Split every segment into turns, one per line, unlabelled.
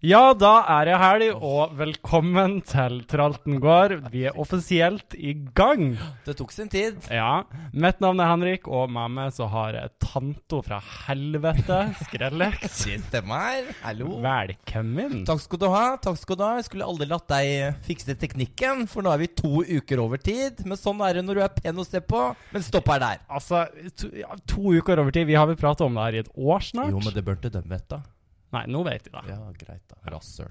Ja, da er det helg, og velkommen til Tralten gård. Vi er offisielt i gang.
Det tok sin tid.
Ja. Mitt navn er Henrik, og med meg så har jeg tanto fra helvete, Skrellex.
Det stemmer. Hallo.
Velkommen.
Takk skal du ha. takk skal du ha Jeg skulle aldri latt deg fikse teknikken, for nå er vi to uker over tid. Men sånn er det når du er pen å se på. Men stopp her der.
Altså, to, ja, to uker over tid. Vi har vel prata om det her i et år snart?
Jo, men det burde de vite.
Nei, nå vet vi det.
Ja, greit, da. Rasshøl.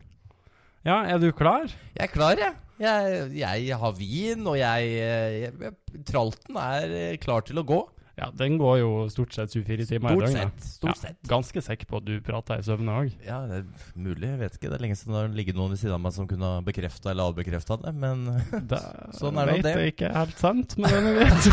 Ja, er du klar?
Jeg er klar, jeg. Jeg, jeg har vin, og jeg, jeg, jeg Tralten er eh, klar til å gå.
Ja, den går jo stort sett 24 timer i
Stort
døgnet.
sett. Stort
Ja,
sett.
ganske sikker på at du prata i søvne òg.
Ja, det er mulig. Jeg vet ikke. Det er lenge siden det har ligget noen ved siden av meg som kunne ha bekrefta eller avbekrefta det, men Sånn er nå
vet
det.
jeg ikke helt sant, men jeg vet.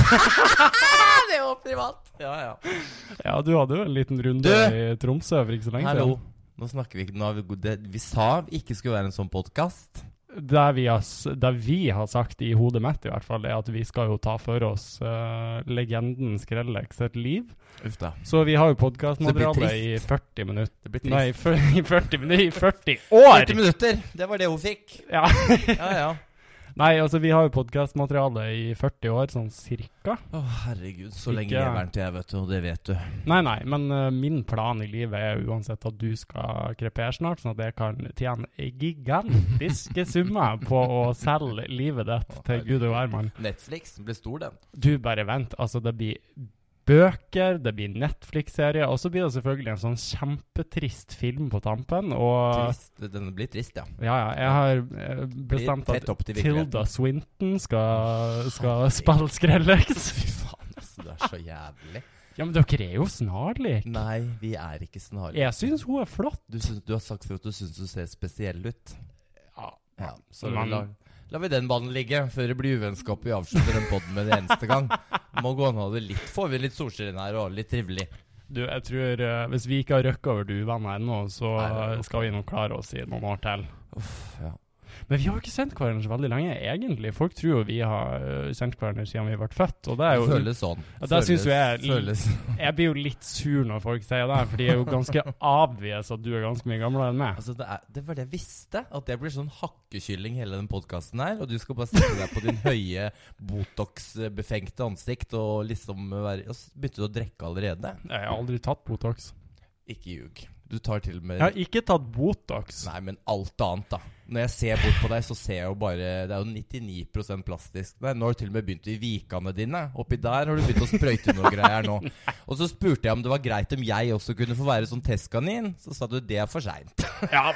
Det var privat. Ja, ja.
Ja, du hadde jo en liten runde
Du!
i Tromsø for ikke så lenge
Hallo. Nå snakker vi ikke nå har vi, god- det, vi sa vi ikke skulle være en sånn podkast.
siden. Det vi, har, s- det vi har sagt i hodet mitt, i hvert fall, er at vi skal jo ta for oss eh, legenden Skrellex sitt liv.
Uff da.
Så vi har jo
Så det
podkastmateriale i
blir
40 minutter.
Det blir
Nei,
trist.
fyr- i 40 minutter I 40 år!
40 minutter! Det var det hun fikk.
Ja.
Ja, ja.
Nei, altså, vi har jo podkastmateriale i 40 år, sånn cirka.
Å, herregud. Så lenge
Ikke-
lever den til jeg, vet du. Og det vet du.
Nei, nei, men eh, min plan i livet er jo uansett at du skal krepere snart, sånn at jeg kan tjene gigantiske summer på å selge livet ditt til gud og hvermann.
Netflix den blir stor, den.
Du bare vent, altså det blir bøker, det blir Netflix-serier, og så blir det selvfølgelig en sånn kjempetrist film på tampen, og
Trist. Den blir trist, ja.
ja, ja, jeg har eh,
Blir
bestemt at
tett opp til virkeligheten.
Tilda Swinton skal, skal spille Skrellex.
Fy faen, altså. Det er så jævlig.
Ja, men dere er jo snarlig.
Nei, vi er ikke snarlige.
Jeg synes hun er flott.
Du, syns- du har sagt før at du syns du ser spesiell ut.
Ja,
Ja, så
Men-
la, la vi den ballen ligge før det blir uvennskap og vi avslutter den podden med det eneste gang. Må gå an å ha det litt Får vi litt solskinn her og ha det litt trivelig.
Du, jeg tror eh, hvis vi ikke har røkket over duene ennå, så
Nei, det er
eh,
nok.
skal vi nå klare oss i noen år til.
ja.
Men vi har jo ikke sendt hverandre så veldig lenge, egentlig. Folk tror jo vi har eh, sendt hverandre siden vi ble født, og det er jo
føles sånn.
Ja, der synes jo jeg-
føles,
Jeg blir jo litt sur når folk sier det, for de er jo ganske obvious at du er ganske mye gamlere enn meg.
Altså, det, er, det var det jeg visste, at jeg blir sånn hakkekylling hele den podkasten her. Og du skal bare sette deg på din høye Botox-befengte ansikt og liksom være og s- Begynte du å drikke allerede?
Jeg har aldri tatt Botox.
Ikke ljug. Du tar til og med
Jeg har ikke tatt Botox.
Nei, men alt annet, da. Når jeg ser bort på deg, så ser jeg jo bare Det er jo 99 plastisk. Nei, nå har du til og med begynt i vikene dine. Oppi der har du begynt å sprøyte noe greier nå. Og så spurte jeg om det var greit om jeg også kunne få være sånn testkanin. Så sa du det er for seint.
Ja,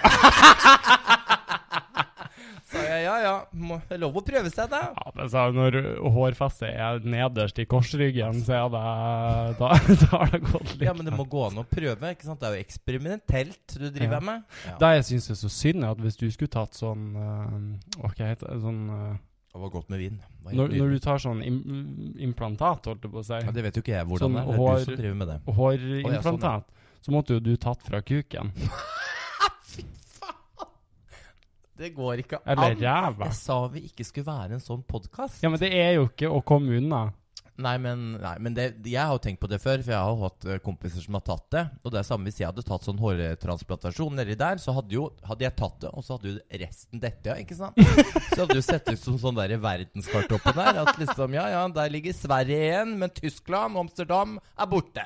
Sa jeg ja ja, må, det er lov å prøve seg, da.
ja, men så når hårfestet er nederst i korsryggen, så er det Da, da har det gått litt
Ja, men det må gå an å prøve. ikke sant? Det er jo eksperimentelt du driver
Ja.
med. Ja.
Det jeg syns er så synd, er at hvis du skulle tatt sånn eh, Hva heter det? Sånn eh,
Det var godt med vin. Det var
når,
helt
når
nydelig.
du tar sånn im implantat, holdt jeg på å si,
ja, sånn, det vet jo ikke jeg hvordan
Sånn
det er. Det er
hår-
du som driver med det.
hårimplantat, så måtte jo du tatt fra kuken.
Det går ikke
Eller
an.
ræva.
Jeg sa vi ikke skulle være en sånn podkast.
Ja, men det er jo ikke å komme unna.
Nei, men, nei, men det, jeg har jo tenkt på det før, for jeg har jo hatt eh, kompiser som har tatt det. Og det er samme hvis jeg hadde tatt sånn hårtransplantasjon nedi der, så hadde, jo, hadde jeg tatt det, og så hadde jo resten dette, ja, ikke sant? Så hadde jo sett ut som sånn der verdenskart oppå der. At liksom, ja, ja, der ligger Sverige igjen, men Tyskland og Amsterdam er borte.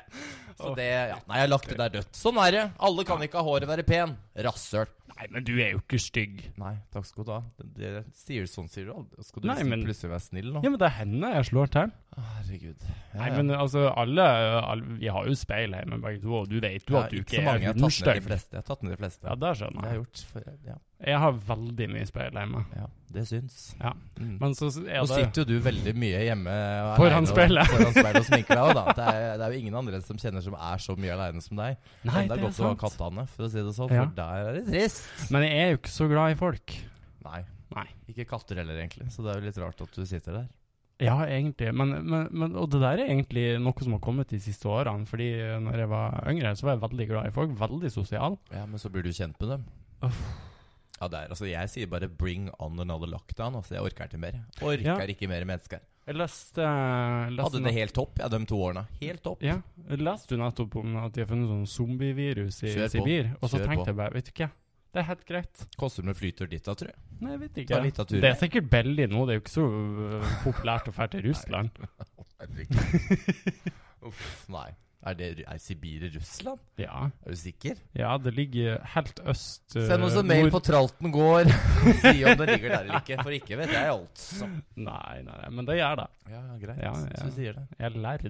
Så det, ja, nei, jeg har lagt det der dødt. Sånn er det. Alle kan ikke ha håret være pen. Rasshøl.
Nei, men du er jo ikke stygg.
Nei, takk skal du ha. Det, det, sier du sånn, sier du aldri. Skal du
Nei,
liksom
men-
plutselig være snill nå?
Ja, men det er henne jeg slår til.
Herregud. Ja,
Nei,
ja.
men altså, alle, alle Vi har jo speil hjemme, begge to, og du vet jo
Ja,
at du
så
ikke
mange.
er
Jeg har tatt ned de
hundstygg.
fleste. Jeg har tatt ned de fleste.
Ja, det
det har
skjønner
jeg
jeg.
gjort. For, ja,
Jeg har veldig mye speil hjemme.
ja, det syns.
Ja.
Mm.
Men så er
Nå
det
sitter jo du veldig mye hjemme alene
Foran
og-
speilet.
foran speilet og sminker deg òg, da. Det er, det er jo ingen andre som kjenner som er så mye aleine som deg.
Nei,
Men
det er
godt å ha
sant.
kattene, for å si det sånn,
Ja.
for der er det trist.
Men jeg er jo ikke så glad i folk.
Nei.
Nei.
Ikke katter heller, egentlig, så det er jo litt rart at du sitter der.
Ja, egentlig. Men, men, men, og det der er egentlig noe som har kommet de siste årene. Fordi eh, når jeg var yngre, så var jeg veldig glad i folk. Veldig sosial.
Ja, men så blir du kjent med dem.
Uff.
Ja, det er, altså Jeg sier bare 'bring on another lockdown'. Altså, Jeg orker ikke mer. Orker
Ja.
ikke mer mennesker.
Jeg leste, eh, leste
Hadde det helt topp, ja, de to årene. Helt topp.
ja, jeg leste jo nettopp om at de har funnet sånn zombievirus i
Kjør på.
Sibir. Og så
Kjør på.
tenkte jeg bare, vet du hva, Det er helt greit.
Koster med flytur dit, da, tror jeg.
Nei, jeg vet
Ta
ikke.
litt av turen.
Det er sikkert billig nå, det er jo ikke så øh, populært å dra til Russland.
Herregud. Uff, nei. Er, det, er Sibir i Russland?
Ja,
Er du sikker?
ja det ligger helt øst øh,
Send oss en mail
nord-
på Tralten gård. si om det ligger der eller ikke. For ikke vet jeg, altså.
Nei, nei, nei, men det gjør det.
Ja, greit.
Ja, ja.
Så sier det.
Jeg er lærd.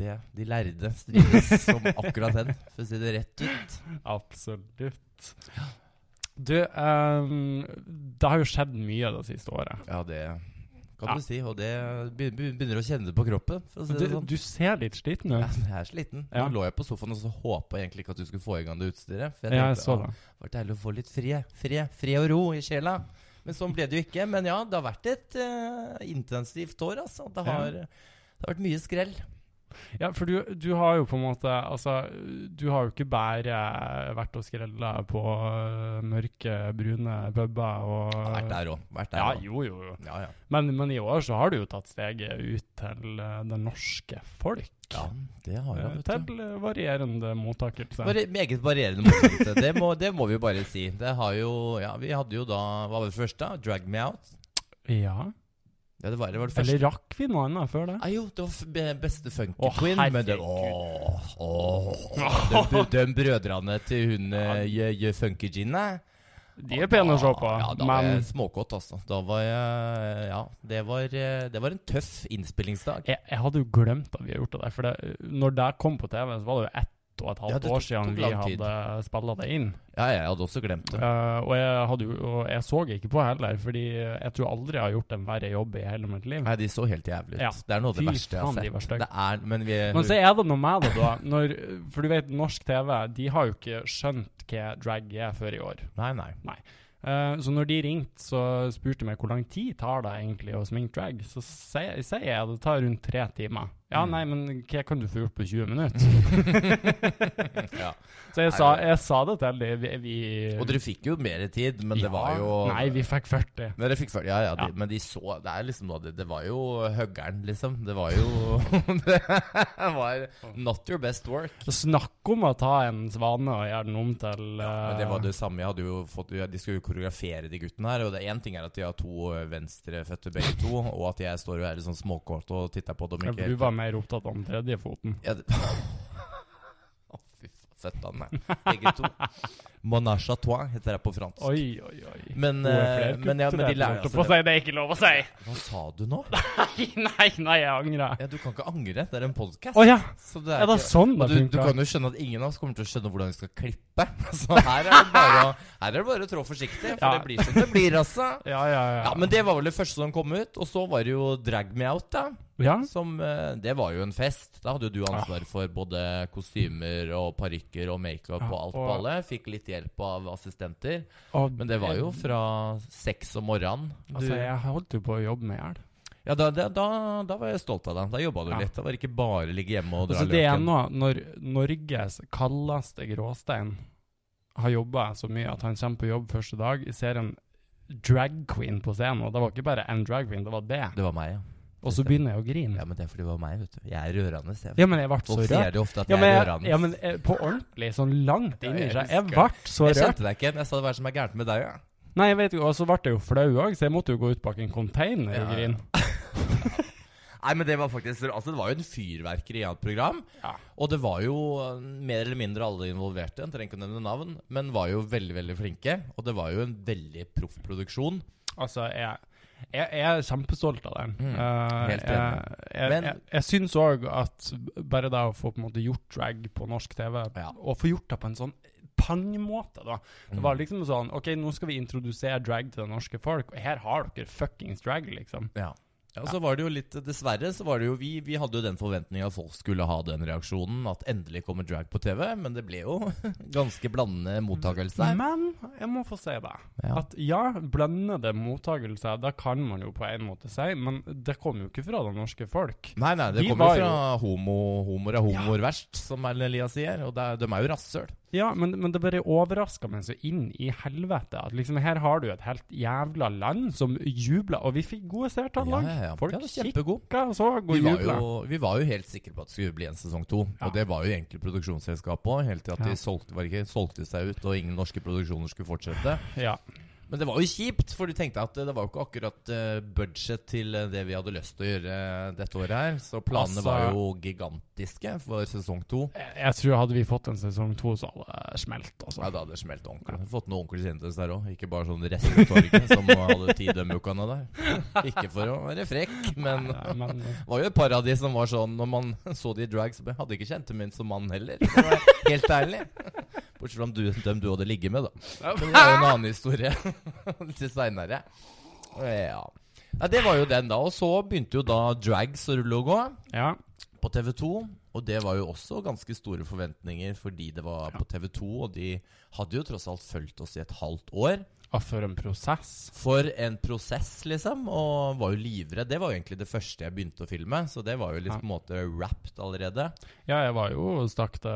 det. De lærde strides som akkurat den, for å si det rett ut.
Absolutt. Du, ehm, det har jo skjedd mye det siste året.
Ja, det kan
Ja.
du si. Og det be- be- begynner å kjenne det på kroppen. For å si
Du,
det sånn.
du ser litt sliten
Ja,
ut.
jeg er sliten.
Ja.
Nå lå jeg på sofaen og så håpa egentlig ikke at du skulle få i gang det utstyret. For
Ja, jeg
tenkte,
så
«Ah,
det.
Det var deilig å få litt fred, fred, fred og ro i sjela. Men sånn ble det jo ikke. Men ja, det har vært et eh, intensivt år, altså. Det har, det har vært mye skrell.
Ja, for du, du har jo på en måte Altså, du har jo ikke bare vært og skrella på øh, mørke, brune puber og
Jeg har vært der òg. Vært der
Ja,
også.
jo, jo, jo.
Ja, ja.
Men, men i år så har du jo tatt steget ut til øh, det norske folk.
ja, det har jeg.
Eh,
Vet du.
til øh, varierende mottakelse.
Bare meget varierende mottakelse. Det, må- det må vi jo bare si. Det har jo Ja, vi hadde jo da Hva var det første? da? Drag Me Out?
ja.
Ja, det var det, var det første.
Eller rakk vi noe annet før det?
Nei, jo, det var f- be-
Å,
beste funky-queen, men det Åh, åh. de, br- de brødrene til hun uh, funky-ginne
De er pene å se på,
Ja, da var
men
jeg småkåt, altså. Da var jeg Ja, det var, eh, det var en tøff innspillingsdag.
jeg, jeg hadde jo glemt at vi hadde gjort det der. For det, når det kom på TV, så var det jo ett og et
Ja,
halvt
det tok-
år siden
tok
vi
lang tid.
hadde spilla det inn.
Ja, jeg hadde også glemt det.
Eh, og, jeg hadde jo, og jeg så ikke på heller, fordi jeg tror aldri jeg har gjort en verre jobb i hele mitt liv.
Nei, de så helt jævlig ut.
Ja.
Det er noe av det
Fy
verste jeg har
faen, de var
sett.
stygge.
Det er, men vi
Men så er det noe med det, da. Når, for du vet, norsk TV de har jo ikke skjønt hva drag er før i år.
Nei, nei.
Eh, så når de ringte, så spurte de meg hvor lang tid tar det egentlig å sminke drag. Så sier sier jeg det tar rundt tre timer. Ja,
Mm.
nei, men hva kan du få gjort på 20 minutter?
ja.
Så jeg sa, jeg sa det til dem. Vi, vi
Og dere fikk jo mer tid, men det var jo
Nei, vi fikk 40.
Men dere fikk følge, ja, ja, de,
Ja.
Men de så Det er liksom noe av det Det var jo høggeren, liksom. Det var jo Det var not your best work.
Så Snakk om å ta en svane og gjøre den om til
Men det
eh,
var det samme. Jeg hadde jo fått, ja, de skulle jo koreografere de guttene her. Og det én ting er at de har to eh, venstrefødte begge to, og at jeg står og er litt sånn småkort og titter på dem.
Ja,
Ikke,
for du var mer opptatt av den tredje foten.
ja, det, Å, fy faen. Føttene, begge to. Monage à toi heter det på fransk.
Oi, oi, oi.
Men,
Hun er
eh,
flere
men, ja, men de
kulturelle
lærer altså
måter på å si det er ikke lov å si!
Hva sa du nå?
Nei, nei, jeg angrer.
Ja, du kan ikke angre. Det er en podkast.
Å ja,
Så det er
er det
ikke-
sånn
Og
det
du, du
funker?
kan jo skjønne at ingen av oss kommer til å skjønne hvordan vi skal klippe. Så her er det bare å, her er det bare å trå forsiktig, for
Ja.
det blir som det blir, altså.
Ja, ja, ja.
Ja, Men det var vel det første som kom ut. Og så var det jo Drag Me Out, da.
ja?
Som, eh, det var jo en fest. Da hadde jo du ansvar
Ah.
for både kostymer og parykker og makeup
Ja,
og alt på
og-
alle. Fikk litt hjelp av assistenter.
Og
Men det var jo fra seks om morgenen.
Altså,
Du-
Eh, jeg holdt jo på å jobbe med hjel.
ja, da, da, da, da var jeg stolt av deg. Da jobba du
Ja.
litt. Da var det ikke bare å ligge hjemme og dra
Altså, det er
løken.
nå når Norges kaldeste gråstein har jobba så mye at han kommer på jobb første dag, ser en drag queen på scenen, og det var ikke bare en drag queen, det var det.
Det var meg, ja.
Og så begynner jeg å grine.
Ja, men det er fordi det var meg, vet du. Jeg er rørende. Jeg.
Ja, men jeg ble så
Folk
rørt.
sier det ofte at
Ja,
jeg er
men,
rørende.
ja, men eh, på ordentlig, sånn langt
Ja,
inni
jeg
seg. Jeg
husker.
ble så
jeg
rørt.
kjente deg ikke igjen. Jeg sa hva er det som er gærent med deg? Ja.
Nei, jeg vet ikke, og så ble jeg jo flau òg, så jeg måtte jo gå ut bak en container
Ja,
og
ja.
grine.
Nei, men det var faktisk Altså, det var jo en fyrverkeri av et program.
Ja.
Og det var jo eh, mer eller mindre alle involverte, jeg trenger ikke å nevne navn, men var jo veldig, veldig flinke. Og det var jo en veldig proff produksjon.
Altså, jeg, jeg, jeg er kjempestolt av den.
Mm,
Eh,
helt enig.
Jeg, jeg,
Men-
jeg, jeg syns òg at bare det å få på en måte gjort drag på norsk TV,
Ja. Mm.
og få gjort det på en sånn pangmåte, da Det var liksom sånn OK, nå skal vi introdusere drag til det norske folk, og her har dere fuckings drag, liksom.
Ja. Ja, og så var det jo litt, Dessverre så var det jo vi Vi hadde jo den forventninga at folk skulle ha den reaksjonen. At endelig kommer drag på TV. Men det ble jo ganske blandende mottakelse. her.
Men jeg må få si det.
Ja.
At ja, blandede mottagelser, det kan man jo på en måte si, men det kom jo ikke fra det norske folk.
Nei, nei, det
De
kommer
var
jo fra homo, homoer er homoer verst, som Elias sier. Og det er, de er jo rasshøl.
Ja, men, men det bare overraska meg så inn i helvete. At liksom her har du et helt jævla land som jubla, og vi fikk gode seertall.
Ja,
Ja,
ja, ja.
Folk
Ja, det var
kikka
kjempegod.
og så og
Vi var,
jubla.
jo, vi var jo helt sikre på at det skulle bli en sesong to.
Ja.
Og det var jo egentlig produksjonsselskapet òg. Helt til at
Ja.
de solgte, var det ikke, solgte seg ut, og ingen norske produksjoner skulle fortsette.
Ja.
Men det var jo kjipt, for du tenkte at det var jo ikke akkurat eh, budget til eh, det vi hadde lyst til å gjøre eh, dette året her. Så planene
Altså-
var jo gigantiske for sesong to.
Jeg, jeg tror hadde vi fått en sesong to, så hadde det smelt. Altså.
Nei, da hadde det smelt ordentlig. Fått noen onkel Sintes der òg. Ikke bare sånn resten av torget som hadde ti dømmeukene der. Ikke for å være frekk, men
Nei, Eh, men
Det var jo et par av de som var sånn Når man så de i drag, så hadde ikke kjent dem inn som mann heller. for å være Helt ærlig. Bortsett fra om du, dem du hadde ligget med, da. Men det er jo en annen historie til seinere. Ja. ja. Det var jo den, da. Og så begynte jo da drags å rulle og gå
ja.
på TV2. Og det var jo også ganske store forventninger fordi det var på TV2, og de hadde jo tross alt fulgt oss i et halvt år.
Og for en prosess.
For en prosess, liksom. Og var jo livredd. Det var jo egentlig det første jeg begynte å filme. Så det var jo litt
Ja.
på en måte wrapped allerede.
Ja, jeg var jo stakk det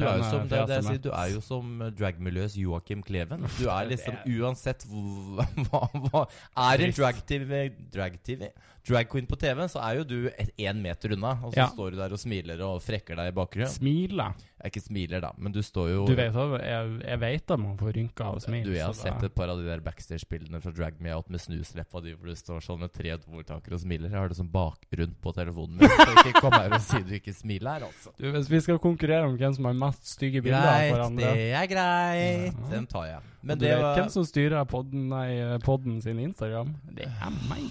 Du er jo som, det, er det jeg sier,
mitt.
du er jo som dragmiljøets Joakim Kleven. Du er liksom uansett hva, hva, hva Er en
Trist.
drag-TV drag-TV drag queen på TV, så er jo du én meter unna. Og så
Ja.
står du der og smiler og frekker deg i bakgrunnen.
Smile.
Jeg ikke smiler, da, men du står jo
Du vet, at- jeg, jeg vet at man får rynker av å smile.
Du, Jeg har
så
sett
da-
et par av de der backstage-bildene fra Drag Me Out med snusleppa di, hvor du står sånn med tre ordtaker og smiler. Jeg har det som bakgrunn på telefonen min. Så ikke kom her og si du ikke smiler her, altså.
Du, hvis vi skal konkurrere om hvem som har mest stygge bilder av
Greit,
hverandre
det er greit.
Ja.
Den tar jeg.
Men
Men
du
det
vet
var
hvem som styrer podden, nei, eh, podden sin Instagram? Det er meg.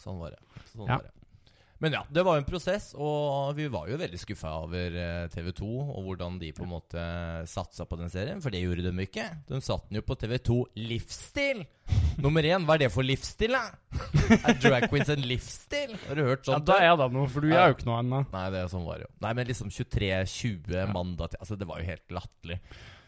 Sånn var det. Sånn
Ja.
var det. Men ja, det var jo en prosess, og vi var jo veldig skuffa over eh, TV 2 og hvordan de på en måte satsa på den serien, for det gjorde de ikke. De satte den jo på TV 2 Livsstil! Nummer én, hva er det for livsstil, da? Er drag queens en livsstil? Har du hørt
Ja,
sånt?
da er det noe, for du
Sånn, Ja.
er jo ikke noe annet.
Nei, det er sånn var det jo. Nei, men liksom 23-20 mandag til Altså, det var jo helt latterlig.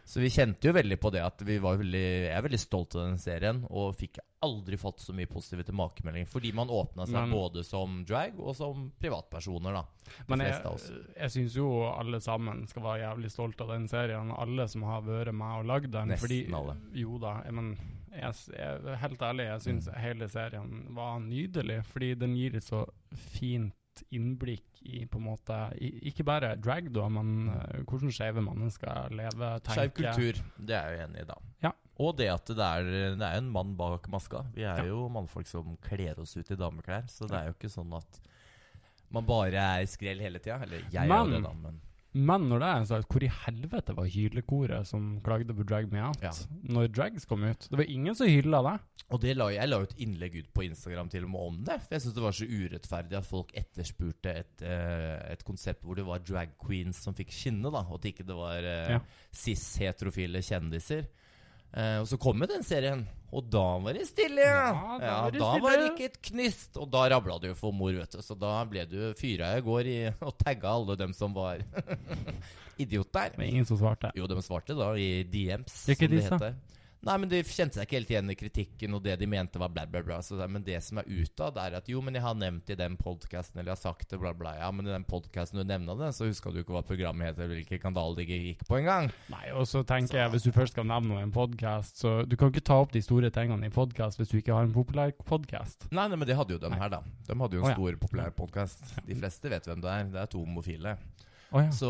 Så vi kjente jo veldig på det at vi var veldig Jeg er veldig stolt av den serien, og fikk aldri fått så mye positive tilbakemeldinger. Fordi man åpna seg
Men-
både som drag og som privatpersoner, da.
Men
fleste av oss.
jeg, jeg syns jo alle sammen skal være jævlig stolt av den serien. Alle som har vært med og lagd den.
Nesten
fordi-
alle.
Jo da. Jeg, men jeg, s- jeg, helt ærlig, jeg syns
Mm.
hele serien var nydelig. Fordi den gir et så fint innblikk i på en måte i, Ikke bare drag, da, men eh, hvordan skeive mennesker lever, tenker.
Mm. Skeiv kultur. Det er jeg jo enig i, da.
Ja.
Og det at det er, det er en mann bak maska. Vi er
Ja.
jo mannfolk som kler oss ut i dameklær, så det er jo ikke sånn at man bare er skrell hele tida. Eller jeg er jo
Men-
det, da, men
Men når det er sagt, hvor i helvete var hylekoret som klagde på Drag Me Out?
Ja.
Når drags kom ut? Det var ingen som hylla det.
Og det la, jeg la jo et innlegg ut på Instagram til og med om det. For jeg syns det var så urettferdig at folk etterspurte et, eh, et konsept hvor det var drag queens som fikk skinne, da. Og at ikke det var eh,
Ja.
cis-heterofile kjendiser. Eh, og så kom jo den serien, og da var det stille!
Ja, da
ja,
var det
da
stille.
var det ikke et knist! Og da rabla det jo for mor, vet du. Så da ble du fyra i går i, og tagga alle dem som var idiot der.
Det var ingen som svarte.
Jo, de svarte da i DMs,
Det er ikke
som det
disse.
heter. Nei, men De kjente seg ikke helt igjen i kritikken, og det de mente var bla, bla, bla. Så, det- men det som er utad, er at jo, men jeg har nevnt i den podkasten, eller jeg har sagt det, bla, bla. Ja, men i den podkasten du nevna det, så huska du ikke hva programmet het, eller hvilken kanal det gikk på engang.
Nei, og så tenker jeg, hvis du først skal nevne noe i en podkast, så du kan ikke ta opp de store tingene i podkast hvis du ikke har en populær podkast.
Nei, nei, men det hadde jo de
Nei.
her, da. De hadde jo en
Å, ja.
stor, populær podkast. De fleste vet hvem det er. Det er to homofile.
Å ja.
Så,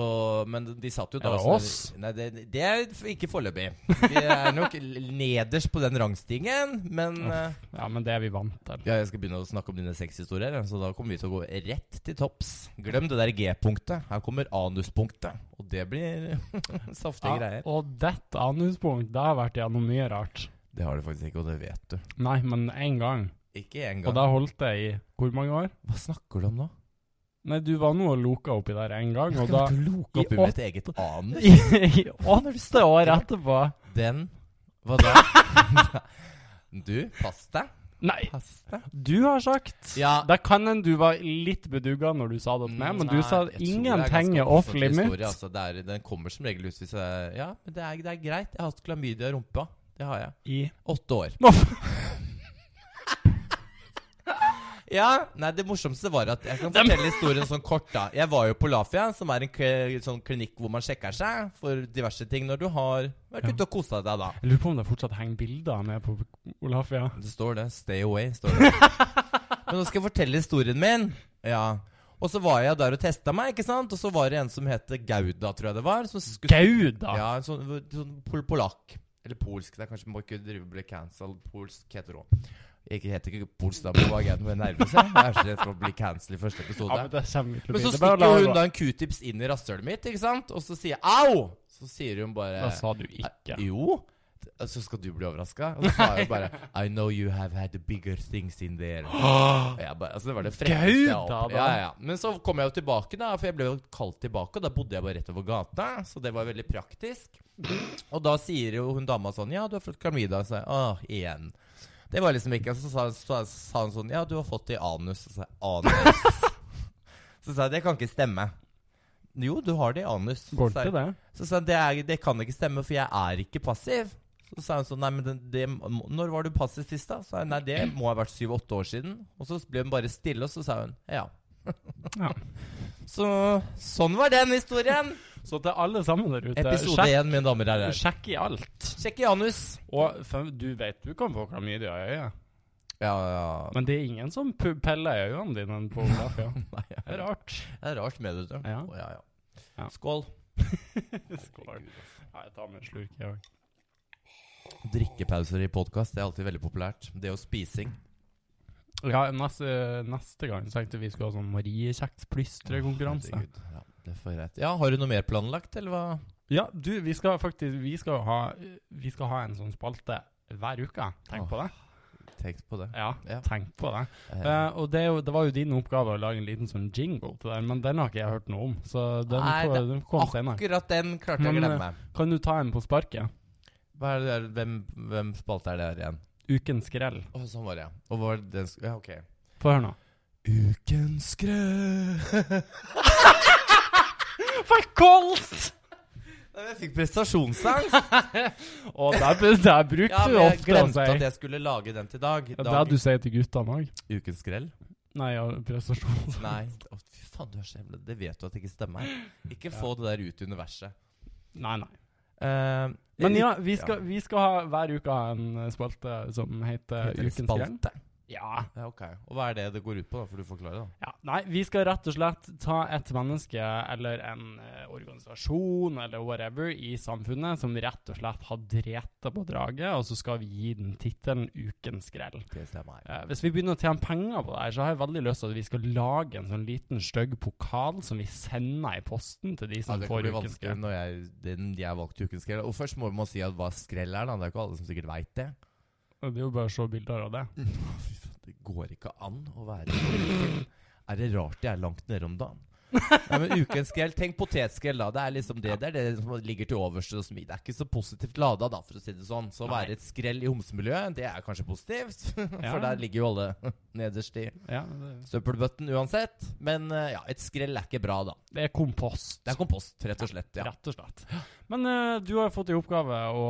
men de satt jo da
Er det
sånn-
oss?
Nei, det, det er f- ikke foreløpig. Vi er nok nederst på den rangstigen, men
Uff.
eh,
ja, men det er vi vant til.
Ja, jeg skal begynne å snakke om dine sexhistorier, så da kommer vi til å gå rett til topps. Glem det der G-punktet. Her kommer anuspunktet, og det blir saftige greier.
og dette anuspunkt, det har vært gjennom mye rart.
Det har du faktisk ikke, og det vet du.
Nei, men én gang.
Ikke engang.
Og da holdt det i hvor mange år?
Hva snakker du om nå?
Nei, du var nå og loka oppi der én gang, og da
loke opp
i
i mitt eget anus.
I i åtte år etterpå.
Den Hva da? du, pass deg.
Nei,
Pass deg.
du har sagt
Ja.
Da kan en du var litt bedugga når du sa det til meg, men du
Mm, Nei,
sa
jeg tror det er
ingenting
ganske
er off
offentlig
limit.
historie, Altså, det er, den kommer som regel ut hvis jeg Ja, men det er, det er greit. Jeg har hatt klamydia i rumpa. Det har jeg.
I
Åtte år.
Nå,
Ja, nei, Det morsomste var at jeg kan fortelle historien sånn kort. da Jeg var jo på Lafia, som er en kl sånn klinikk hvor man sjekker seg for diverse ting når du har vært
Ja.
ute og kosa deg. da
Jeg lurer på om det fortsatt henger bilder med på Olafia.
Det står det. 'Stay away'. står det Men nå skal jeg fortelle historien min. Ja Og så var jeg der og testa meg, ikke sant? og så var det en som het Gauda, tror jeg det var. Som skulle
Gauda!
Ja, en sånn, sånn pol polakk. Eller polsk. Det er kanskje må ikke drive bli cancelled. Polsk heter det òg. Jeg heter ikke polsk, da, men hva er det med nervøs? Jeg Jeg er så redd for å bli cancelled i første episode.
men det kommer vi til å
men
bli.
så
Det er bare å la
stikker
det
hun
gå.
da en q-tips inn i rasshølet mitt, ikke sant? Og så sier jeg 'au'! Så sier hun bare
Da sa du ikke.
Jo. Så skal du bli overraska? Og så sa hun bare 'I know you have had bigger things in there'. Og jeg bare, altså det var det frekkeste jeg
Gauda,
opp.
da.
Ja, ja. Men så kom jeg jo tilbake, da, for jeg ble jo kalt tilbake. Og da bodde jeg bare rett over gata, så det var veldig praktisk. Og da sier jo hun dama sånn 'Ja, du har fått klamydia'. Så jeg 'Åh, igjen'. Det var liksom ikke Så sa, sa, sa han sånn 'Ja, du har fått det i anus'. Så sa jeg 'Anus'. så sa jeg 'Det kan ikke stemme'. Jo, du har det i anus. Så
Går
sa
det til
jeg,
det?
så sa han det, er, det kan ikke stemme, for jeg er ikke passiv. Så sa han sånn Nei, men det, det, må- når var du passiv sist, da? Så sa jeg nei, det må ha vært syv-åtte år siden. Og så ble hun bare stille, og så sa hun ja.
Ja.
Så sånn var den historien.
Så til alle sammen der ute,
Episode én, mine damer og
sjekk,
herrer.
sjekk i alt.
Sjekk i anus.
Og for, du vet du kan få klamydia i øyet,
Ja, ja.
men det er ingen som pu- peller i øynene dine på Olafia.
Nei, det
Det er
er
rart.
rart med det, vet du.
Ja.
Å, ja, ja.
Ja.
Skål.
Skål. Ja, jeg tar med en slurk, jeg òg.
Drikkepauser i podkast er alltid veldig populært. Det og spising.
Ja, neste, neste gang så tenkte vi skulle ha sånn Mariekjeks-plystrekonkurranse.
Herregud. Ja, det er for greit. Ja, har du noe mer planlagt, eller hva?
Ja, du, vi skal faktisk Vi skal ha, vi skal ha en sånn spalte hver uke. Tenk på det.
Tenk på det.
Ja,
Ja.
tenk på det.
Eh,
Eh, og det, er jo, det var jo din oppgave å lage en liten sånn jingle til den, men den har ikke jeg hørt noe om. Så den,
Nei,
får,
det-
den kommer senere.
Akkurat den klarte jeg å
Men, eh,
glemme.
Kan du ta en på sparket?
Hva er det der, hvem, hvem spalte er det her igjen?
Ukens skrell.
Å, sånn var det, ja. Og hva var det den sk- Ja, ok.
Få høre nå.
Ukens skrø...
For kols!
jeg fikk prestasjonsangst.
Og der, br- der bruker
Ja,
du
men jeg
ofte å
glemte
si
at jeg altså. skulle lage den til dag.
Ja, Det
dag.
du sier til guttene òg.
Ukens skrell?
Nei, ja, prestasjon.
Nei. Å, fy faen, du er så jævlig Det vet du at det ikke stemmer. Ikke få det der ut i universet.
Nei, nei.
Eh,
Men ja, vi
ja.
skal, vi skal ha hver uke ha en eh, spalte som heter,
heter det
Ukens skrell.
spalte?
Ja.
Ja, ok. Og hva er det det går ut på, da? Får du forklare, da.
ja. Nei, vi skal rett og slett ta et menneske eller en eh, organisasjon eller whatever i samfunnet som rett og slett har dreta på draget, og så skal vi gi den tittelen Ukens skrell.
Det stemmer.
Eh, hvis vi begynner å tjene penger på det her, så har jeg veldig lyst til at vi skal lage en sånn liten stygg pokal som vi sender i posten til de
Ja,
som
det kan
får
bli
ukens
vanskelig
skrell.
når jeg, den, jeg valgte ukens skrell. Og først må man si at hva skrell er, da. Det er jo ikke alle som sikkert veit det.
Og Det er jo bare å se bilder av det.
Å, Fy faen, det går ikke an å være så liten. Er det rart jeg er langt nede om dagen? Nei, men Ukens skrell Tenk potetskrell, da. Det er liksom det det er det som ligger til overs. og som- Det er ikke så positivt lada, da, for å si det sånn. Så å
Nei.
være et skrell i homsemiljøet, det er kanskje positivt.
Ja.
For der ligger jo alle nederst i
Ja, det-
søppelbøtten uansett. Men eh, ja, et skrell er ikke bra, da.
det er kompost.
Det er kompost, rett og slett. Ja.
Rett og slett. Men eh, du har fått i oppgave å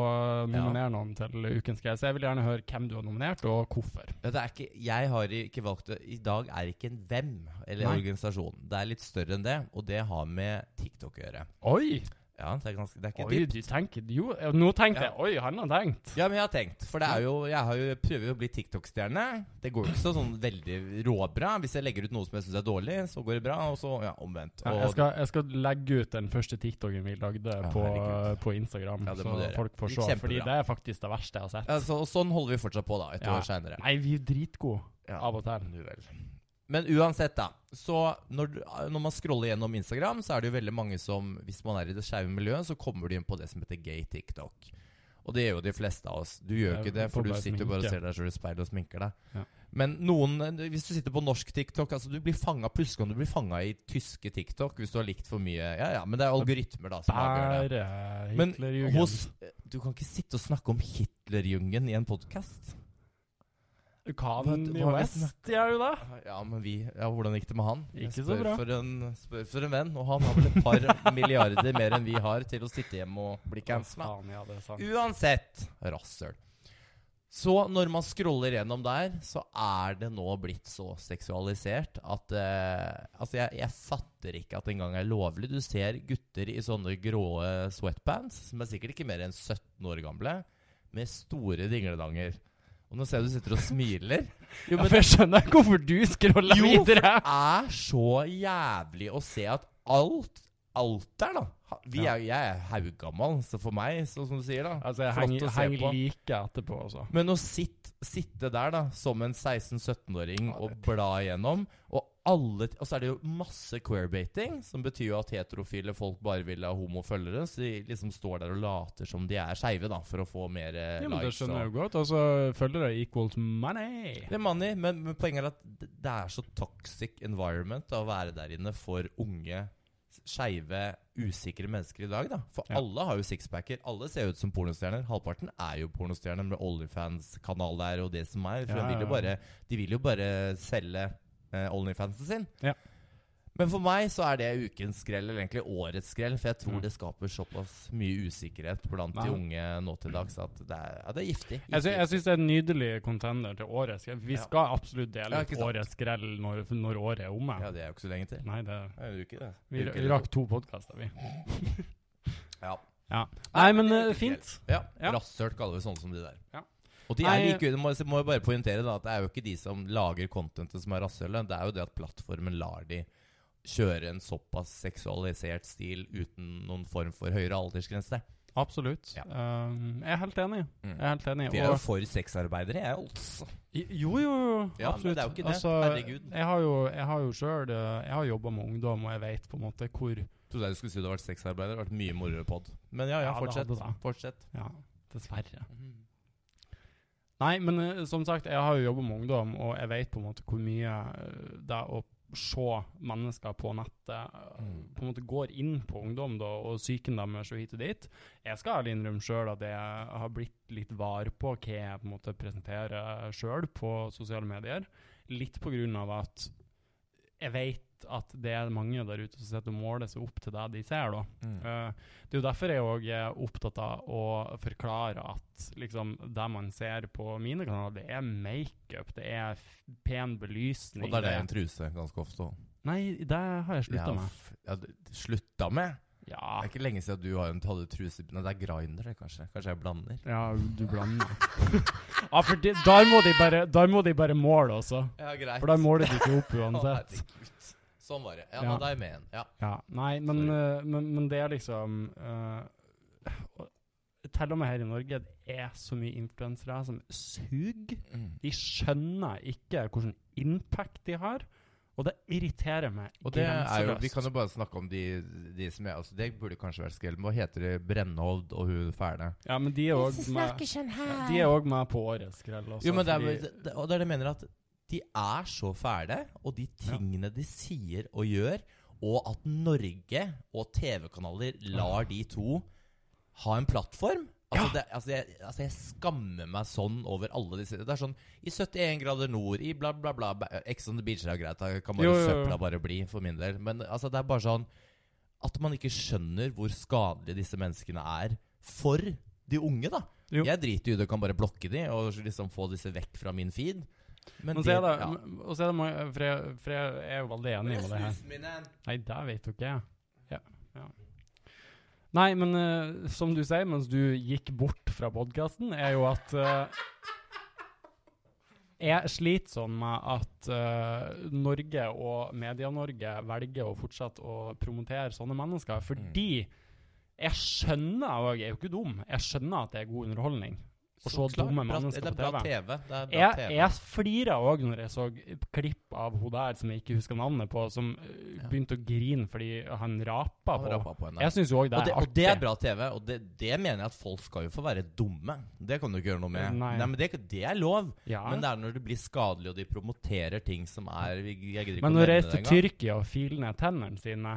nominere noen til ukens greie, så jeg vil gjerne høre hvem du har nominert, og hvorfor.
Ja, Det er ikke, jeg har ikke valgt det. I dag er ikke en hvem eller
Nei.
organisasjon. Det er litt større enn det, og det har med TikTok å gjøre.
Oi!
Ja, det er, ganske, det er ikke
Oi,
dypt.
du tenker Jo, eh, nå tenkte
Ja.
jeg Oi, han har tenkt.
Ja, men jeg har tenkt, for det er jo, jeg har jo, jeg prøver jo å bli TikTok-stjerne. Det går jo ikke så sånn veldig råbra. Hvis jeg legger ut noe som jeg syns er dårlig, så går det bra, og så ja, omvendt.
Ja,
Og,
jeg, skal, jeg skal legge ut den første TikToken vi lagde
Ja,
på,
herregud.
på Instagram,
Ja, det må
så
du gjøre.
folk får
Det gikk
se. Fordi
kjempebra.
det er faktisk det verste jeg har sett.
Ja, så, og sånn holder vi fortsatt på, da, et
Ja.
år seinere.
Nei, vi er dritgode av og til.
Nu vel. Men uansett, da. Så når, du- når man scroller gjennom Instagram, så er det jo veldig mange som Hvis man er i det skeive miljøet, så kommer de inn på det som heter gay TikTok. Og det gjør jo de fleste av oss. Du gjør jo
Ja,
ikke det, for
får
du
bare
sitter jo bare og
sminke.
ser deg sjøl i speilet og sminker deg.
Ja.
Men noen, hvis du sitter på norsk TikTok altså Du blir fanget, Plutselig kan du bli fanga i tyske TikTok hvis du har likt for mye. Ja, ja, Men det er algoritmer da som avgjør det.
Bare
Men
Hitlerjugend.
hos, du kan ikke sitte og snakke om Hitlerjungen i en podkast.
Kanye
Hva- hva-
West gjør jo det.
Ja, men vi ja, Hvordan gikk det med han? Jeg
Ikke så
spør
bra.
For en, spør for en venn, og han har vel et par milliarder mer enn vi har til å sitte hjemme og bli cancela.
Faen, ja, det er sant.
Uansett, rasshøl. Så når man scroller gjennom der, så er det nå blitt så seksualisert at eh, Altså, jeg, jeg fatter ikke at det engang er lovlig. Du ser gutter i sånne grå eh, sweatpants, som er sikkert ikke mer enn 17 år gamle, med store dingledanger. Og nå ser jeg du sitter og smiler. Jo,
Ja,
men
for jeg skjønner ikke hvorfor du scroller
Jo,
videre.
det er så jævlig å se at alt Alt der, da. Ha- Vi
Ja.
er, jeg er hauggammal, så for meg, så som du sier, da.
Altså, jeg
Flott
henger,
å se
henger
på.
like etterpå altså. også.
Men å sitt, sitte der da som en 16-17-åring
Ja,
og bla igjennom Og alle Og så er det jo masse queerbaiting, som betyr jo at heterofile folk bare vil ha homofølgere. Så de liksom står der og later som de er skeive, da, for å få mer eh,
Ja, men det
likes.
skjønner jeg
Og,
jo godt. Altså, følgere equals money.
det er money, men, men poenget er at det- det er så toxic environment da, å være der inne for unge, skeive, usikre mennesker i dag, da. For
Ja.
alle har jo sixpacker. Alle ser ut som pornostjerner. Halvparten er jo pornostjerner med Onlyfans-kanal der og det som er. For
Ja,
de,
ja,
vil jo
ja.
bare, de vil jo bare selge eh, Onlyfansen sin.
Ja.
Men for meg så er det ukens skrell, eller egentlig årets skrell. For jeg tror
Mm.
det skaper såpass mye usikkerhet blant
Nei.
de unge nå til dags at det er, ja, det er giftig.
Jeg, sy
Giftig.
jeg syns det er en nydelig contender til årets. Vi
Ja.
skal absolutt
Ja,
dele ut
ikke sant.
årets skrell når, når året er omme.
Ja, det er jo ikke så lenge til.
Nei, det
Det er jo ikke det.
Vi
Det er jo ikke
vi
det.
rakk to podkaster, vi.
Ja.
Ja. Nei, men
det er
eh,
ikke
fint.
Ja.
Ja.
Rasshøl kaller vi sånne som de der.
Ja.
Og de er
Nei,
like, det må, må jeg bare poengtere da, at det er jo ikke de som lager contentet som er rasshølet. Det er jo det at plattformen lar de kjøre en såpass seksualisert stil uten noen form for høyere aldersgrense.
Absolutt.
Ja.
Um, jeg er helt enig.
Mm.
Jeg er helt enig.
Vi er jo
Og,
for sexarbeidere, jeg altså.
jo, jo, jo.
Ja, men
absolutt.
det er jo ikke det.
Altså,
Herregud.
jeg har jo, jeg har jo sjøl Jeg har jobba med ungdom, og jeg vet på en måte hvor
Trodde jeg du skulle si du har vært sexarbeider. Det har vært mye moroere pod. Men ja, ja,
Ja, det
fortsett.
hadde det. Mm.
Fortsett.
Ja, dessverre. Nei, men eh, som sagt, jeg har jo jobba med ungdom, og jeg vet på en måte hvor mye eh, det å se mennesker på nettet eh,
Mm.
på en måte går inn på ungdom da, og psyken deres og hit og dit. Jeg skal ærlig innrømme sjøl at jeg har blitt litt var på hva jeg på en måte presenterer sjøl på sosiale medier. Litt på grunn av at jeg vet at det er mange der ute som sitter og måler seg opp til det de ser. da.
Mm.
Eh, Det er jo derfor jeg òg er opptatt av å forklare at liksom, det man ser på mine kanaler, det er makeup, det er f- pen belysning.
Og det er det en truse ganske ofte. også.
Nei, det har jeg slutta
Ja,
med.
f- Ja, det- slutta med?
Ja.
Det er ikke lenge siden du har en hadde truse Nei, det er grinder, det, kanskje. Kanskje jeg blander.
ja, du blander. ja, for det, der, må de bare, der må de bare måle, altså.
Ja, greit.
For der måler de ikke opp uansett.
Sånn var det. Ja,
Ja.
nå er jeg med igjen. Ja.
Ja, nei, men, eh, men, men det er liksom eh, og- Til og med her i Norge det er så mye influensere som suger.
Mm.
De skjønner ikke hvilken impact de har, og det irriterer meg
Og det er jo, Vi
grenseløst.
kan jo bare snakke om de, de som er altså, Det burde kanskje vært skrell. men Hva heter det? Brennhovd og hun fæle?
Ja, men de er òg med,
sånn
ja, de er også med på årets skrell. Også,
Jo, men det er,
fordi-
det- det, og det er det jeg mener at de er så fæle, og de tingene de sier og gjør, og at Norge og TV-kanaler lar de to ha en plattform Altså, det, altså, jeg, altså, jeg skammer meg sånn over alle disse Det er sånn I 71 grader nord, i bla, bla, bla ba- Ex on the beach er jo greit, da kan bare
Jo, jo, jo.
søpla bare bli, for min del. Men altså, det er bare sånn At man ikke skjønner hvor skadelige disse menneskene er for de unge, da.
Jo.
Jeg driter i det, kan bare blokke de og liksom få disse vekk fra min feed. Men
Men så er
de-
det,
ja.
og så er det mange, for, jeg, for jeg er jo veldig enig med det her. Nei, det vet jo ikke jeg. Ja. Ja. Nei, men eh, som du sier, mens du gikk bort fra podkasten, er jo at eh, Jeg sliter sånn med at eh, Norge og Media-Norge velger å fortsette å promotere sånne mennesker, fordi jeg skjønner og jeg er jo ikke dum, jeg skjønner at det er god underholdning. å se
Så klart,
dumme
bra-
mennesker
det er
på
bra
TV.
TV. Det er bra
Jeg,
TV.
jeg flira òg når jeg så klipp av hun der som jeg ikke husker navnet på, som øh,
Ja.
begynte å grine fordi han rapa
Han
på.
rappa på henne.
Jeg syns jo òg det
og,
er
det, og
artig.
det er bra TV, og det, det mener jeg at folk skal jo få være dumme. Det kan du ikke gjøre noe med.
Nei.
men det, det er lov.
Ja.
Men det er når det blir skadelig, og de promoterer ting som er Jeg gidder ikke
Men når
å nevne
jeg
det
reiser til
engang.
Tyrkia og filer ned tennene sine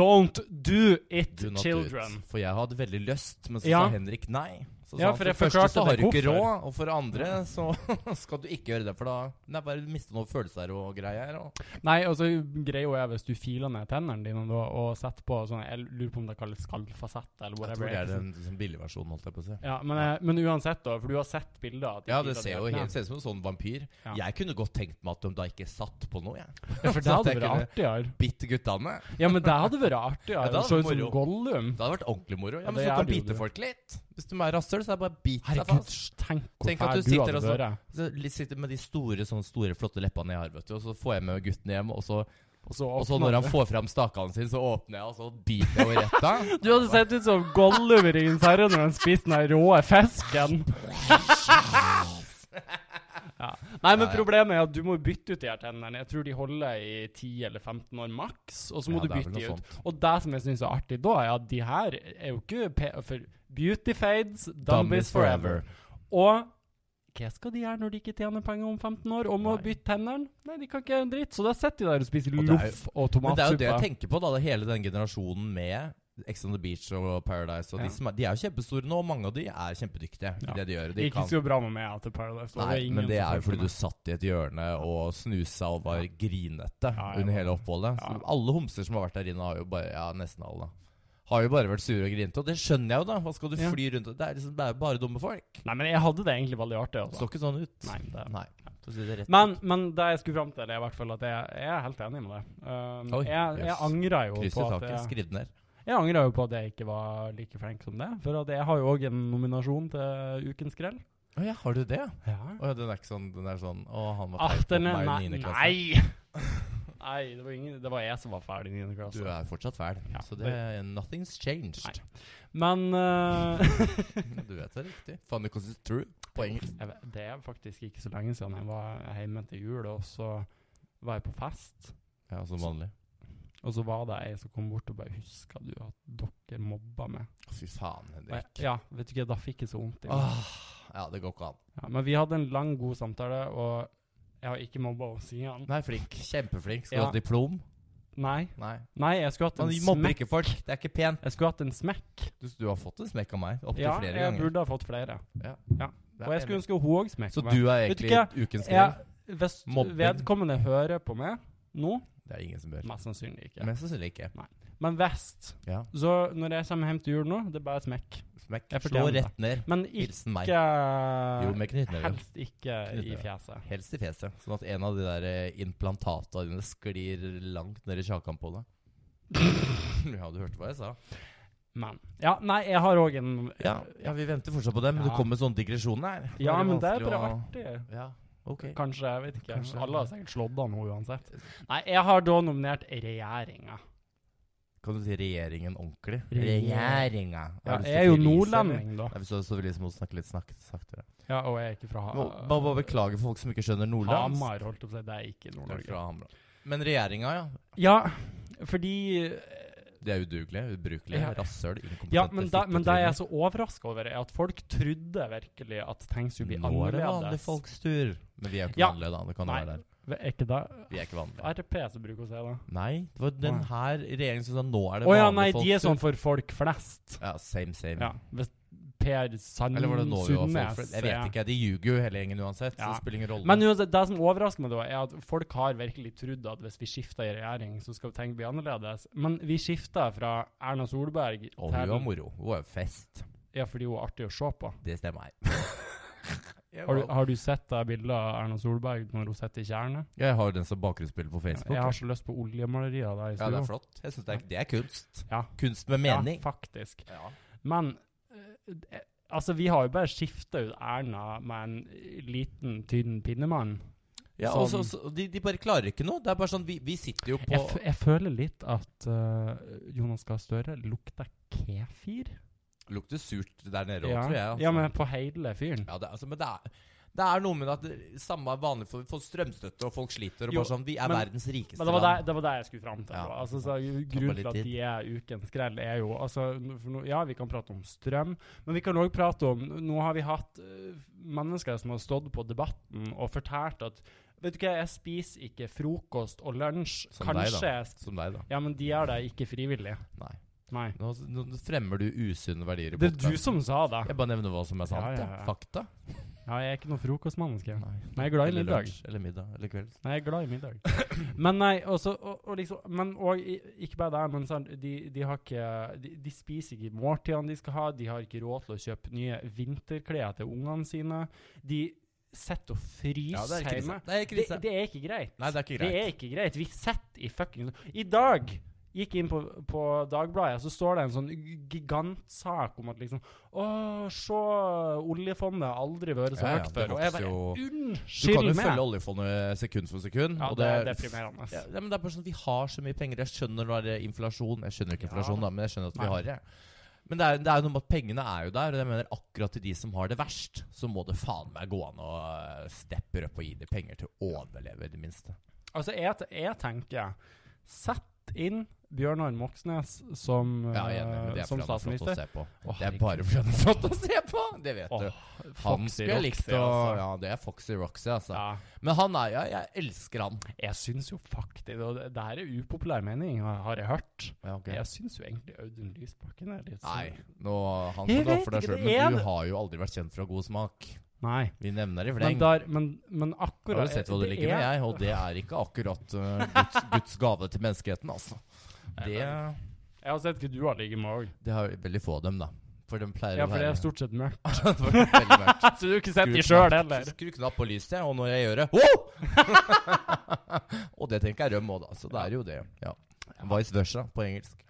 Don't do it,
Do not do it.
children!
For jeg hadde veldig lyst, men så
Ja.
sa Henrik nei. Så
Ja,
sa han,
for
for det
jeg
første
forklarte
så har
deg
du ikke
hvorfor.
råd, og for det andre så skal du ikke gjøre det. For da Nei, bare miste noen følelser og greier. Og.
Nei, og så greia er hvis du filer ned tennene dine da, og setter på sånn Jeg lurer på om det kalles skallfasett eller
Jeg
whatever.
tror det er
ikke sant?
den liksom, billige versjonen, holdt jeg på å si.
Ja, men, eh, men uansett, da, for du har sett bilder av at de
Ja, det
filer
ser
ned
jo
tennene.
helt ser ut som en sånn vampyr.
Ja.
Jeg kunne godt tenkt meg at de da ikke satt på noe, jeg.
Ja, for det
Så at
hadde
jeg
vært artigere.
Bitt guttene.
Ja, men det hadde vært artigere.
Ja,
Ja,
det hadde
så ut
vært
som
moro.
Gollum.
Det hadde vært ordentlig moro.
Ja,
Ja, men
det
så
er
kan
det jo
bite
det.
folk litt. Hvis de er rasshøl, så er det bare bit deg
Herregud,
fast.
tenk hvor
Tenk at
fæl
du
du,
sitter
hadde
og så-
vært.
Så litt sitter med de store, sånn store, flotte leppene jeg har, vet du. Og så får jeg med gutten hjem, og så,
Og så,
og så når han får fram stakene sine, så åpner jeg, og så biter jeg over retta.
Du hadde sett ut som Gollum i Ringens herre når han spiste den råe fisken. Ja. Nei, men
Ja, ja.
problemet er at du må bytte ut de her tennene. Jeg tror de holder i 10 eller 15 år maks, og så må
Ja,
du
det er
bytte
vel
de
noe
ut. Og det som jeg syns er artig da, er at de her er jo ikke pe For beauty fades, dummies forever. Og hva skal de gjøre når de ikke tjener penger om 15 år og må
Nei.
bytte tennene? Nei, de kan ikke gjøre en dritt, så da sitter de der og spiser
det er jo-
loff og
Men det er jo det
tomatsuppe.
jeg tenker på, da. Det er hele den generasjonen med Ex on the Beach og Paradise. Og
Ja.
de, som er, de er jo kjempestore nå, og mange av de er kjempedyktige
Ja.
i det de gjør. og
Det
De
gikk ikke
kan.
så bra med meg etter Paradise. og
Nei,
var ingen
men det
som
er jo
fulgte
fordi
meg.
du satt i et hjørne og snusa og var grinete
Ja, jeg
under
var-
hele oppholdet. Så
ja.
alle homser som har vært der inne, har jo bare Ja, nesten alle. Har jo bare vært sure og grinete. Og det skjønner jeg jo, da. Hva skal du
Ja.
fly rundt og Det er liksom det er jo bare dumme folk.
Nei, men jeg hadde det egentlig veldig artig.
Det
Altså.
så ikke sånn ut.
Nei, det...
Nei. Så sier det rett
men, men det jeg skulle fram til, er i hvert fall at jeg, jeg er helt enig med deg. Um,
Oi,
jeg, jeg
yes.
angrer jo
Kryss i
på at
taket,
jeg,
skriv det ned.
jeg angrer jo på at jeg ikke var like flink som det. For at jeg har jo òg en nominasjon til Ukens grell.
Å ja, har du det?
Ja.
Å ja, den er ikke sånn Den er sånn Å, han var
Ah,
teit mot
den er
meg i
Nei!
niende klasse.
Nei, nei det, var ingen, det var jeg som var ferdig i 9.
Du
klasse.
er fortsatt fæl.
Ja,
så det Nothing's changed.
Nei. Men eh,
Du vet det er riktig. Funny because it's true. På engelsk.
jeg vet- det er faktisk ikke så lenge siden jeg var hjemme til jul, og så var jeg på fest.
Ja, som vanlig.
Og så var det ei som kom bort og bare 'Husker du at dere mobba meg?'
Fy faen,
Og jeg,
Henrik.
ja, vet du ikke, da fikk jeg så vondt
Ah.
i meg.
Åh, ja, det går ikke an.
Ja, men vi hadde en lang, god samtale, og jeg har ikke mobba henne siden.
Nei, flink. Kjempeflink. Skal
Ja.
du ha diplom?
Nei.
Nei.
Nei, jeg skulle hatt en
Man mobber
smekk.
ikke folk. Det er ikke pent.
Jeg skulle hatt en smekk.
Du, du har fått en smekk av meg. Opptil
Ja,
flere
jeg
ganger.
burde ha fått flere.
Det er
Og jeg skulle
enig.
ønske hun òg smekk.
Så du er
Vet du
egentlig ukens
Ja,
grell?
Hvis
Mobbing.
vedkommende hører på meg nå
Det er ingen som bør.
Mest sannsynlig ikke.
Men sannsynlig ikke.
Men vest.
Ja.
Så når jeg kommer hjem til jul nå, det er bare smekk.
Smekk.
Jeg
Slå
fortjener det.
rett ned.
Men ikke
Hilsen meg. Jo,
Jo,
med knyttneven.
Helst ikke i
Knyttneve.
fjeset.
Helst i fjeset, sånn at en av de der eh, implantata dine sklir langt ned i kjakan på deg. ja, du hørte hva jeg sa.
Men Ja, nei, jeg har òg en
Ja, ja, vi venter fortsatt på det, men
Ja.
det kommer sånne digresjoner her. Da
Ja, men det er
vanskelig
bare
å-
artig.
Ja, ok.
Kanskje, jeg vet ikke.
Kanskje.
Alle har sikkert slått av noe uansett. Nei, jeg har da nominert regjeringa.
Kan du si regjeringen ordentlig?
Regjering.
Regjeringa.
Ja,
Har du lyst
jeg er jo
til å frile is, eller?
nordlending, da.
Nei, så, så vil jeg liksom snakke litt snakk, saktere.
Ja, og jeg er ikke fra
Må må bare beklage for folk som ikke skjønner nordlands.
Hamar, holdt jeg på å si. Det er ikke
Du er
Nord-Norge.
fra Hamar. Men regjeringa, ja.
Ja, fordi
De er udugelige, ubrukelige,
Ja.
rasshøl, inkompetente
Ja, men da, men det jeg er
fittetryner.
så overraska over, er at folk trodde virkelig at ting skulle bli
Nå er det vanlige
annerledes.
folks tur. Men vi er jo ikke
Ja.
vanlige, da. Det kan jo
Nei.
være der.
Er ikke det
Vi er ikke vanlige.
RP som bruker å si det?
Nei, det var den
Nei.
her regjeringen som sa nå er det
Å ja,
vanlige
nei,
folk.
de er sånn for folk flest.
Ja, same, same.
Ja, hvis Per Sand
Eller var det nå vi var folk?
Sundnes
for- Jeg vet
er-
ikke, de ljuger jo hele gjengen uansett, så
Ja.
det spiller ingen rolle.
Men uansett, det som overrasker meg, da, er at folk har virkelig trodd at hvis vi skifter i regjering, så skal ting bli annerledes. Men vi skifter fra Erna Solberg
og hun var moro. Hun var jo fest.
Ja, fordi hun er artig å se på.
Det stemmer. jeg,
Har du,
var-
har du sett det bildet av Erna Solberg når hun sitter i tjernet?
jeg har den som bakgrunnsbilde på Facebook.
Jeg har så lyst på oljemalerier av deg i
ja, det er
stua.
flott. Jeg synes det, er, det er kunst.
Ja.
Kunst med mening.
Ja, faktisk.
Ja.
Men eh, eh, altså, vi har jo bare skifta ut Erna med en eh, liten, tynn pinnemann.
Ja, og så,
Sånn.
så, de, de bare klarer ikke noe. Det er bare sånn, vi, vi sitter jo på
Jeg, f jeg føler litt at eh, Jonas Gahr Støre lukter kefir.
Lukter surt der nede òg,
ja.
tror jeg. altså.
ja, men på hele fyren.
Ja, det, er- altså, men det er, det er noe med at det, samme er vanlig for, for strømstøtte, og folk sliter. Og
Jo,
bare sånn, Vi er
men-
verdens rikeste
Men det var
land.
det, det var det jeg skulle fram til.
Ja.
da. Altså, så grunnen til at de er ukens grell, er jo altså, n- for nå- Ja, vi kan prate om strøm, men vi kan òg prate om Nå har vi hatt øh, mennesker som har stått på Debatten og fortalt at Vet du hva, jeg spiser ikke frokost og lunsj.
Som deg,
Kanskje
da.
jeg sk-
Som deg, da.
Ja, men de gjør det ikke frivillig.
Nei.
Nei.
Nå, nå fremmer du usunne verdier i
Det er du
podcasten.
som sa det.
Jeg bare nevner hva som er sant.
Ja, ja, ja.
jeg. Fakta.
Ja, jeg er ikke noe frokostmenneske.
Nei.
Men jeg er glad i
Eller
middag.
lunsj, eller middag, eller kvelds.
Nei, jeg er glad i middag. Men nei, også, og, og liksom, men og, i- ikke bare det, men sånn, de, de, har ikke, de, de spiser ikke måltidene de skal ha, de har ikke råd til å kjøpe nye vinterklær til ungene sine. De sitter og fryser hjemme.
Det er
Det,
krise.
det er ikke greit.
Nei, det er ikke
Det
greit.
er ikke greit. Vi sitter i fucking I dag gikk jeg inn på, på Dagbladet, så står det en sånn gigantsak om at liksom Å, se, oljefondet har aldri vært så
Ja, ja,
høyt
det
før. Og jeg
vokser
bare
jo- Du
Unnskyld
kan jo
meg!
følge oljefondet sekund for sekund.
ja,
og
det
det,
er deprimerende.
ja, men det er bare sånn, Vi har så mye penger. Jeg skjønner når det er inflasjon. Jeg skjønner ikke
Ja.
inflasjon, da, men jeg skjønner at vi
Nei.
har det. Men det er, det er jo noe med at pengene er jo der, og jeg mener akkurat til de som har det verst, så må det faen meg gå an å øh, steppe opp og gi dem penger til å overleve, i det minste.
Altså, jeg, jeg tenker Sett inn Bjørnar Moxnes som,
Ja, jeg er enig, men
eh,
det er
som
fordi han er flott å
statsminister.
se på.
Å,
Det er bare fordi han er flott å se på! Det vet
Åh,
du. Han
Foxy
skulle jeg likt
Roxy,
å
altså.
Ja, det er Foxy Roxy, altså.
Ja.
Men han er ja, Jeg elsker han.
Jeg syns jo faktisk Og det, det her er upopulær mening, har har jeg hørt. Jeg syns jo egentlig Audun Lysbakken er litt
Nei,
sånn-
nå, han
Jeg
kan du ha
vet
for deg
ikke,
sjøl,
det er
men
det-
du har jo aldri vært kjent for å ha god smak.
Nei.
Vi nevner i
Men,
fleng.
der, men, men akkurat
Har du sett hva du
det
ligger med,
er-
jeg? Og det er ikke akkurat eh, Guds, Guds gave til menneskeheten, altså. Det,
Jeg har sett hva du har ligget med òg.
det har veldig få av dem, da. For de pleier
Ja,
å
for det
være
er stort sett mørkt.
for det er veldig mørkt.
Så du har ikke sett de sjøl heller?
Skru knapp på lyset, og når jeg gjør det oh! Og det tenker jeg røm òg, da. Så det er jo det. Ja. Vice versa på engelsk.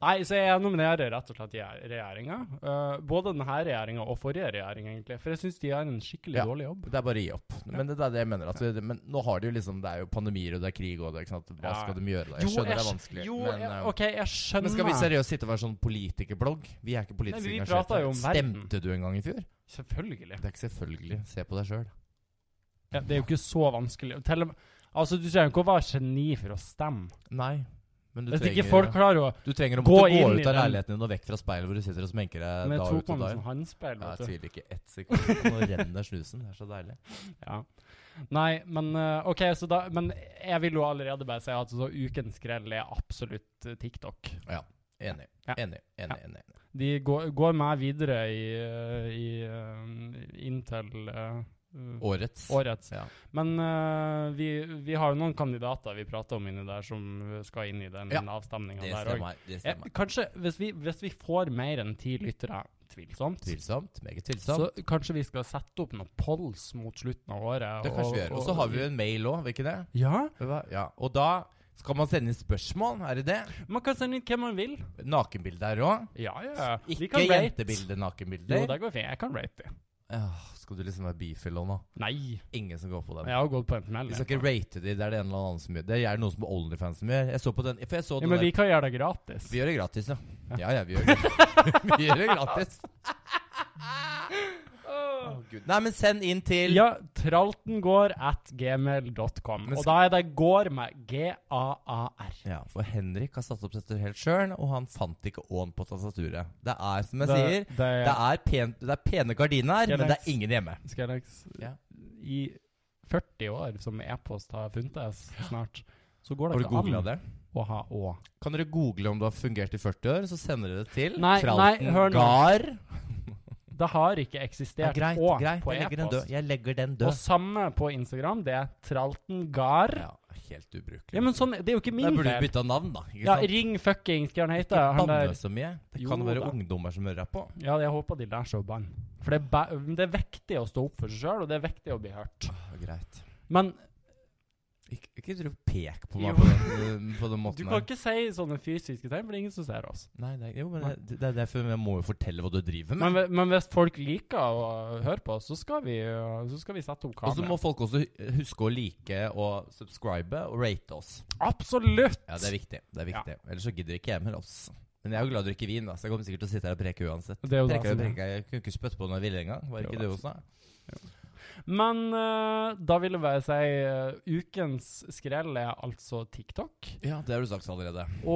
Nei, så jeg nominerer rett og slett regjeringa. Eh, både denne regjeringa og forrige regjering, egentlig. For jeg syns de gjør en skikkelig
Ja.
dårlig jobb.
Det er bare å gi opp. Men det, det er det jeg mener. At det, men nå har de jo liksom Det er jo pandemier, og det er krig, og det, ikke sant? hva
Ja.
skal de gjøre da? Jeg skjønner det er vanskelig.
Jo,
men,
jeg,
eh,
OK, jeg skjønner.
men skal vi seriøst sitte og være sånn politikerblogg? Vi er ikke politisk
Nei, vi
engasjert.
prater jo om verden.
Stemte du en gang i fjor?
Selvfølgelig.
Det er ikke selvfølgelig. Se på deg sjøl.
Ja, det er jo ikke så vanskelig. Til og med Altså, Du trenger ikke å være geni for å stemme.
Nei. Men du
Hvis ikke
trenger,
folk klarer å
du trenger å
Gå
måtte gå,
inn i
ut
den-
av leiligheten din og vekk fra speilet hvor du sitter og smenker eh, deg
Men jeg
dag
tok
ut
på
og
meg
dag
sånn håndspeil.
Ja,
vet
Jeg
du.
tviler ikke ett sekund. Nå renner snusen. Det er så deilig.
Ja. Nei, men eh, OK, så da Men jeg vil jo allerede bare si at så ukens skrell er absolutt eh, TikTok.
Enig.
Ja.
Enig. Enig. enig.
De går, går meg videre i, eh, i eh, inntil eh,
Årets.
årets.
Ja.
Men eh, vi, vi har jo noen kandidater vi prater om inni der, som skal inn i den
Ja,
avstemninga
Det
der òg.
stemmer. Det stemmer.
Kanskje, hvis vi, hvis vi får mer enn ti lyttere, tvilsomt,
Tvilsomt. Meget tvilsomt.
så kanskje vi skal sette opp noen polls mot slutten av året.
Det kanskje vi gjør. Og så har vi jo en mail òg, vil ikke det?
Ja,
Hva- Ja. Og da skal man sende inn spørsmål, er det det?
man kan sende inn hvem man vil.
Nakenbilde her òg.
Ja, ja. Vi
Ikke
kan rate.
jentebilde,
Jo,
nakenbilder.
det går fint. Jeg kan rate det.
Åh, skal du liksom være bifil nå?
Nei.
Ingen som går på den.
Jeg har gått på en smell.
Vi skal ikke rate de, det er det en eller annen som gjør. Det er noen som på Onlyfans som gjør. Jeg så på den, for jeg så
Ja,
den
men
der.
vi kan gjøre det gratis.
Vi gjør det gratis, ja. Ja, ja, vi gjør det, vi gjør det gratis. Åh, Gud. Nei, men send inn til
Ja, traltengård at gmail.com.
Men
Og
skal-
da er det gård med G-A-A-R.
Ja, for Henrik har satt opp dette helt sjøl, og han fant ikke ån på tastaturet. Det er som jeg sier,
det
det er, pent, det er pene gardiner,
Ja,
men det
det er-
er ingen hjemme.
Skal jeg leks-
Ja.
I 40 år som e-post har funtes snart, så går
Har
det
du googla
ikke an
det?
å ha Å.
Kan dere google om det har fungert i 40 år, så sender dere det til
Nei, nei,
Tralten
hør nå.
Gar.
Det har ikke
Ja,
eksistert
greit,
Å
greit.
på
Jeg legger den
e-post.
død. Jeg legger den
Og
død.
samme på Instagram, det er traltengard.
Ja, helt ubrukelig.
Ja, men sånn, det er jo ikke
da
min
burde du
feil.
bytta navn, da. Ikke
Ja,
sant?
ring fuckings, hva han
Ikke
heter. Han der
banne så mye. Det
Jo
kan være
da.
ungdommer som hører deg på.
Ja, jeg håper de lærer seg å banne. For det er, ba det er viktig å stå opp for seg sjøl, og det er viktig å bli hørt.
Ja, greit.
Men
Ikke, ikke driv og pek
Jo.
på meg på den, eh, på den
du
måten
kan
her.
ikke si sånne fysiske tegn, for det er ingen som ser oss.
Nei, det er, jo, men
Nei.
det, det er derfor jeg må jo fortelle hva du driver med.
Men, men hvis folk liker å høre på oss, så skal vi, øh, så skal vi sette opp
Og så må
kamera.
folk også hu- huske å like og subscribe og rate oss.
Absolutt!
Ja, det er viktig. det er viktig. Ellers så gidder ikke jeg mer, altså. Men jeg er jo glad du drikker vin, da, så jeg kommer sikkert til å sitte her og preke uansett.
Det er jo det
Preke,
som er.
preke. Jeg kunne ikke spytte på den jeg ville engang. Var
Det er
ikke
jo
det
det
også?
Men øh, da vil jeg bare si øh, ukens skrell er altså TikTok.
Ja, det har du sagt allerede. Sånn er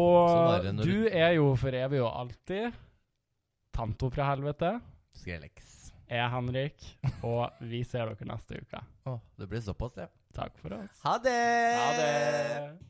Og
det når
du
du-
er jo for evig og alltid Tanto fra helvete.
Skrellex.
Jeg er Henrik, og vi ser dere neste uke.
Å, det blir såpass, ja.
Takk for oss.
Ha det!
Ha det!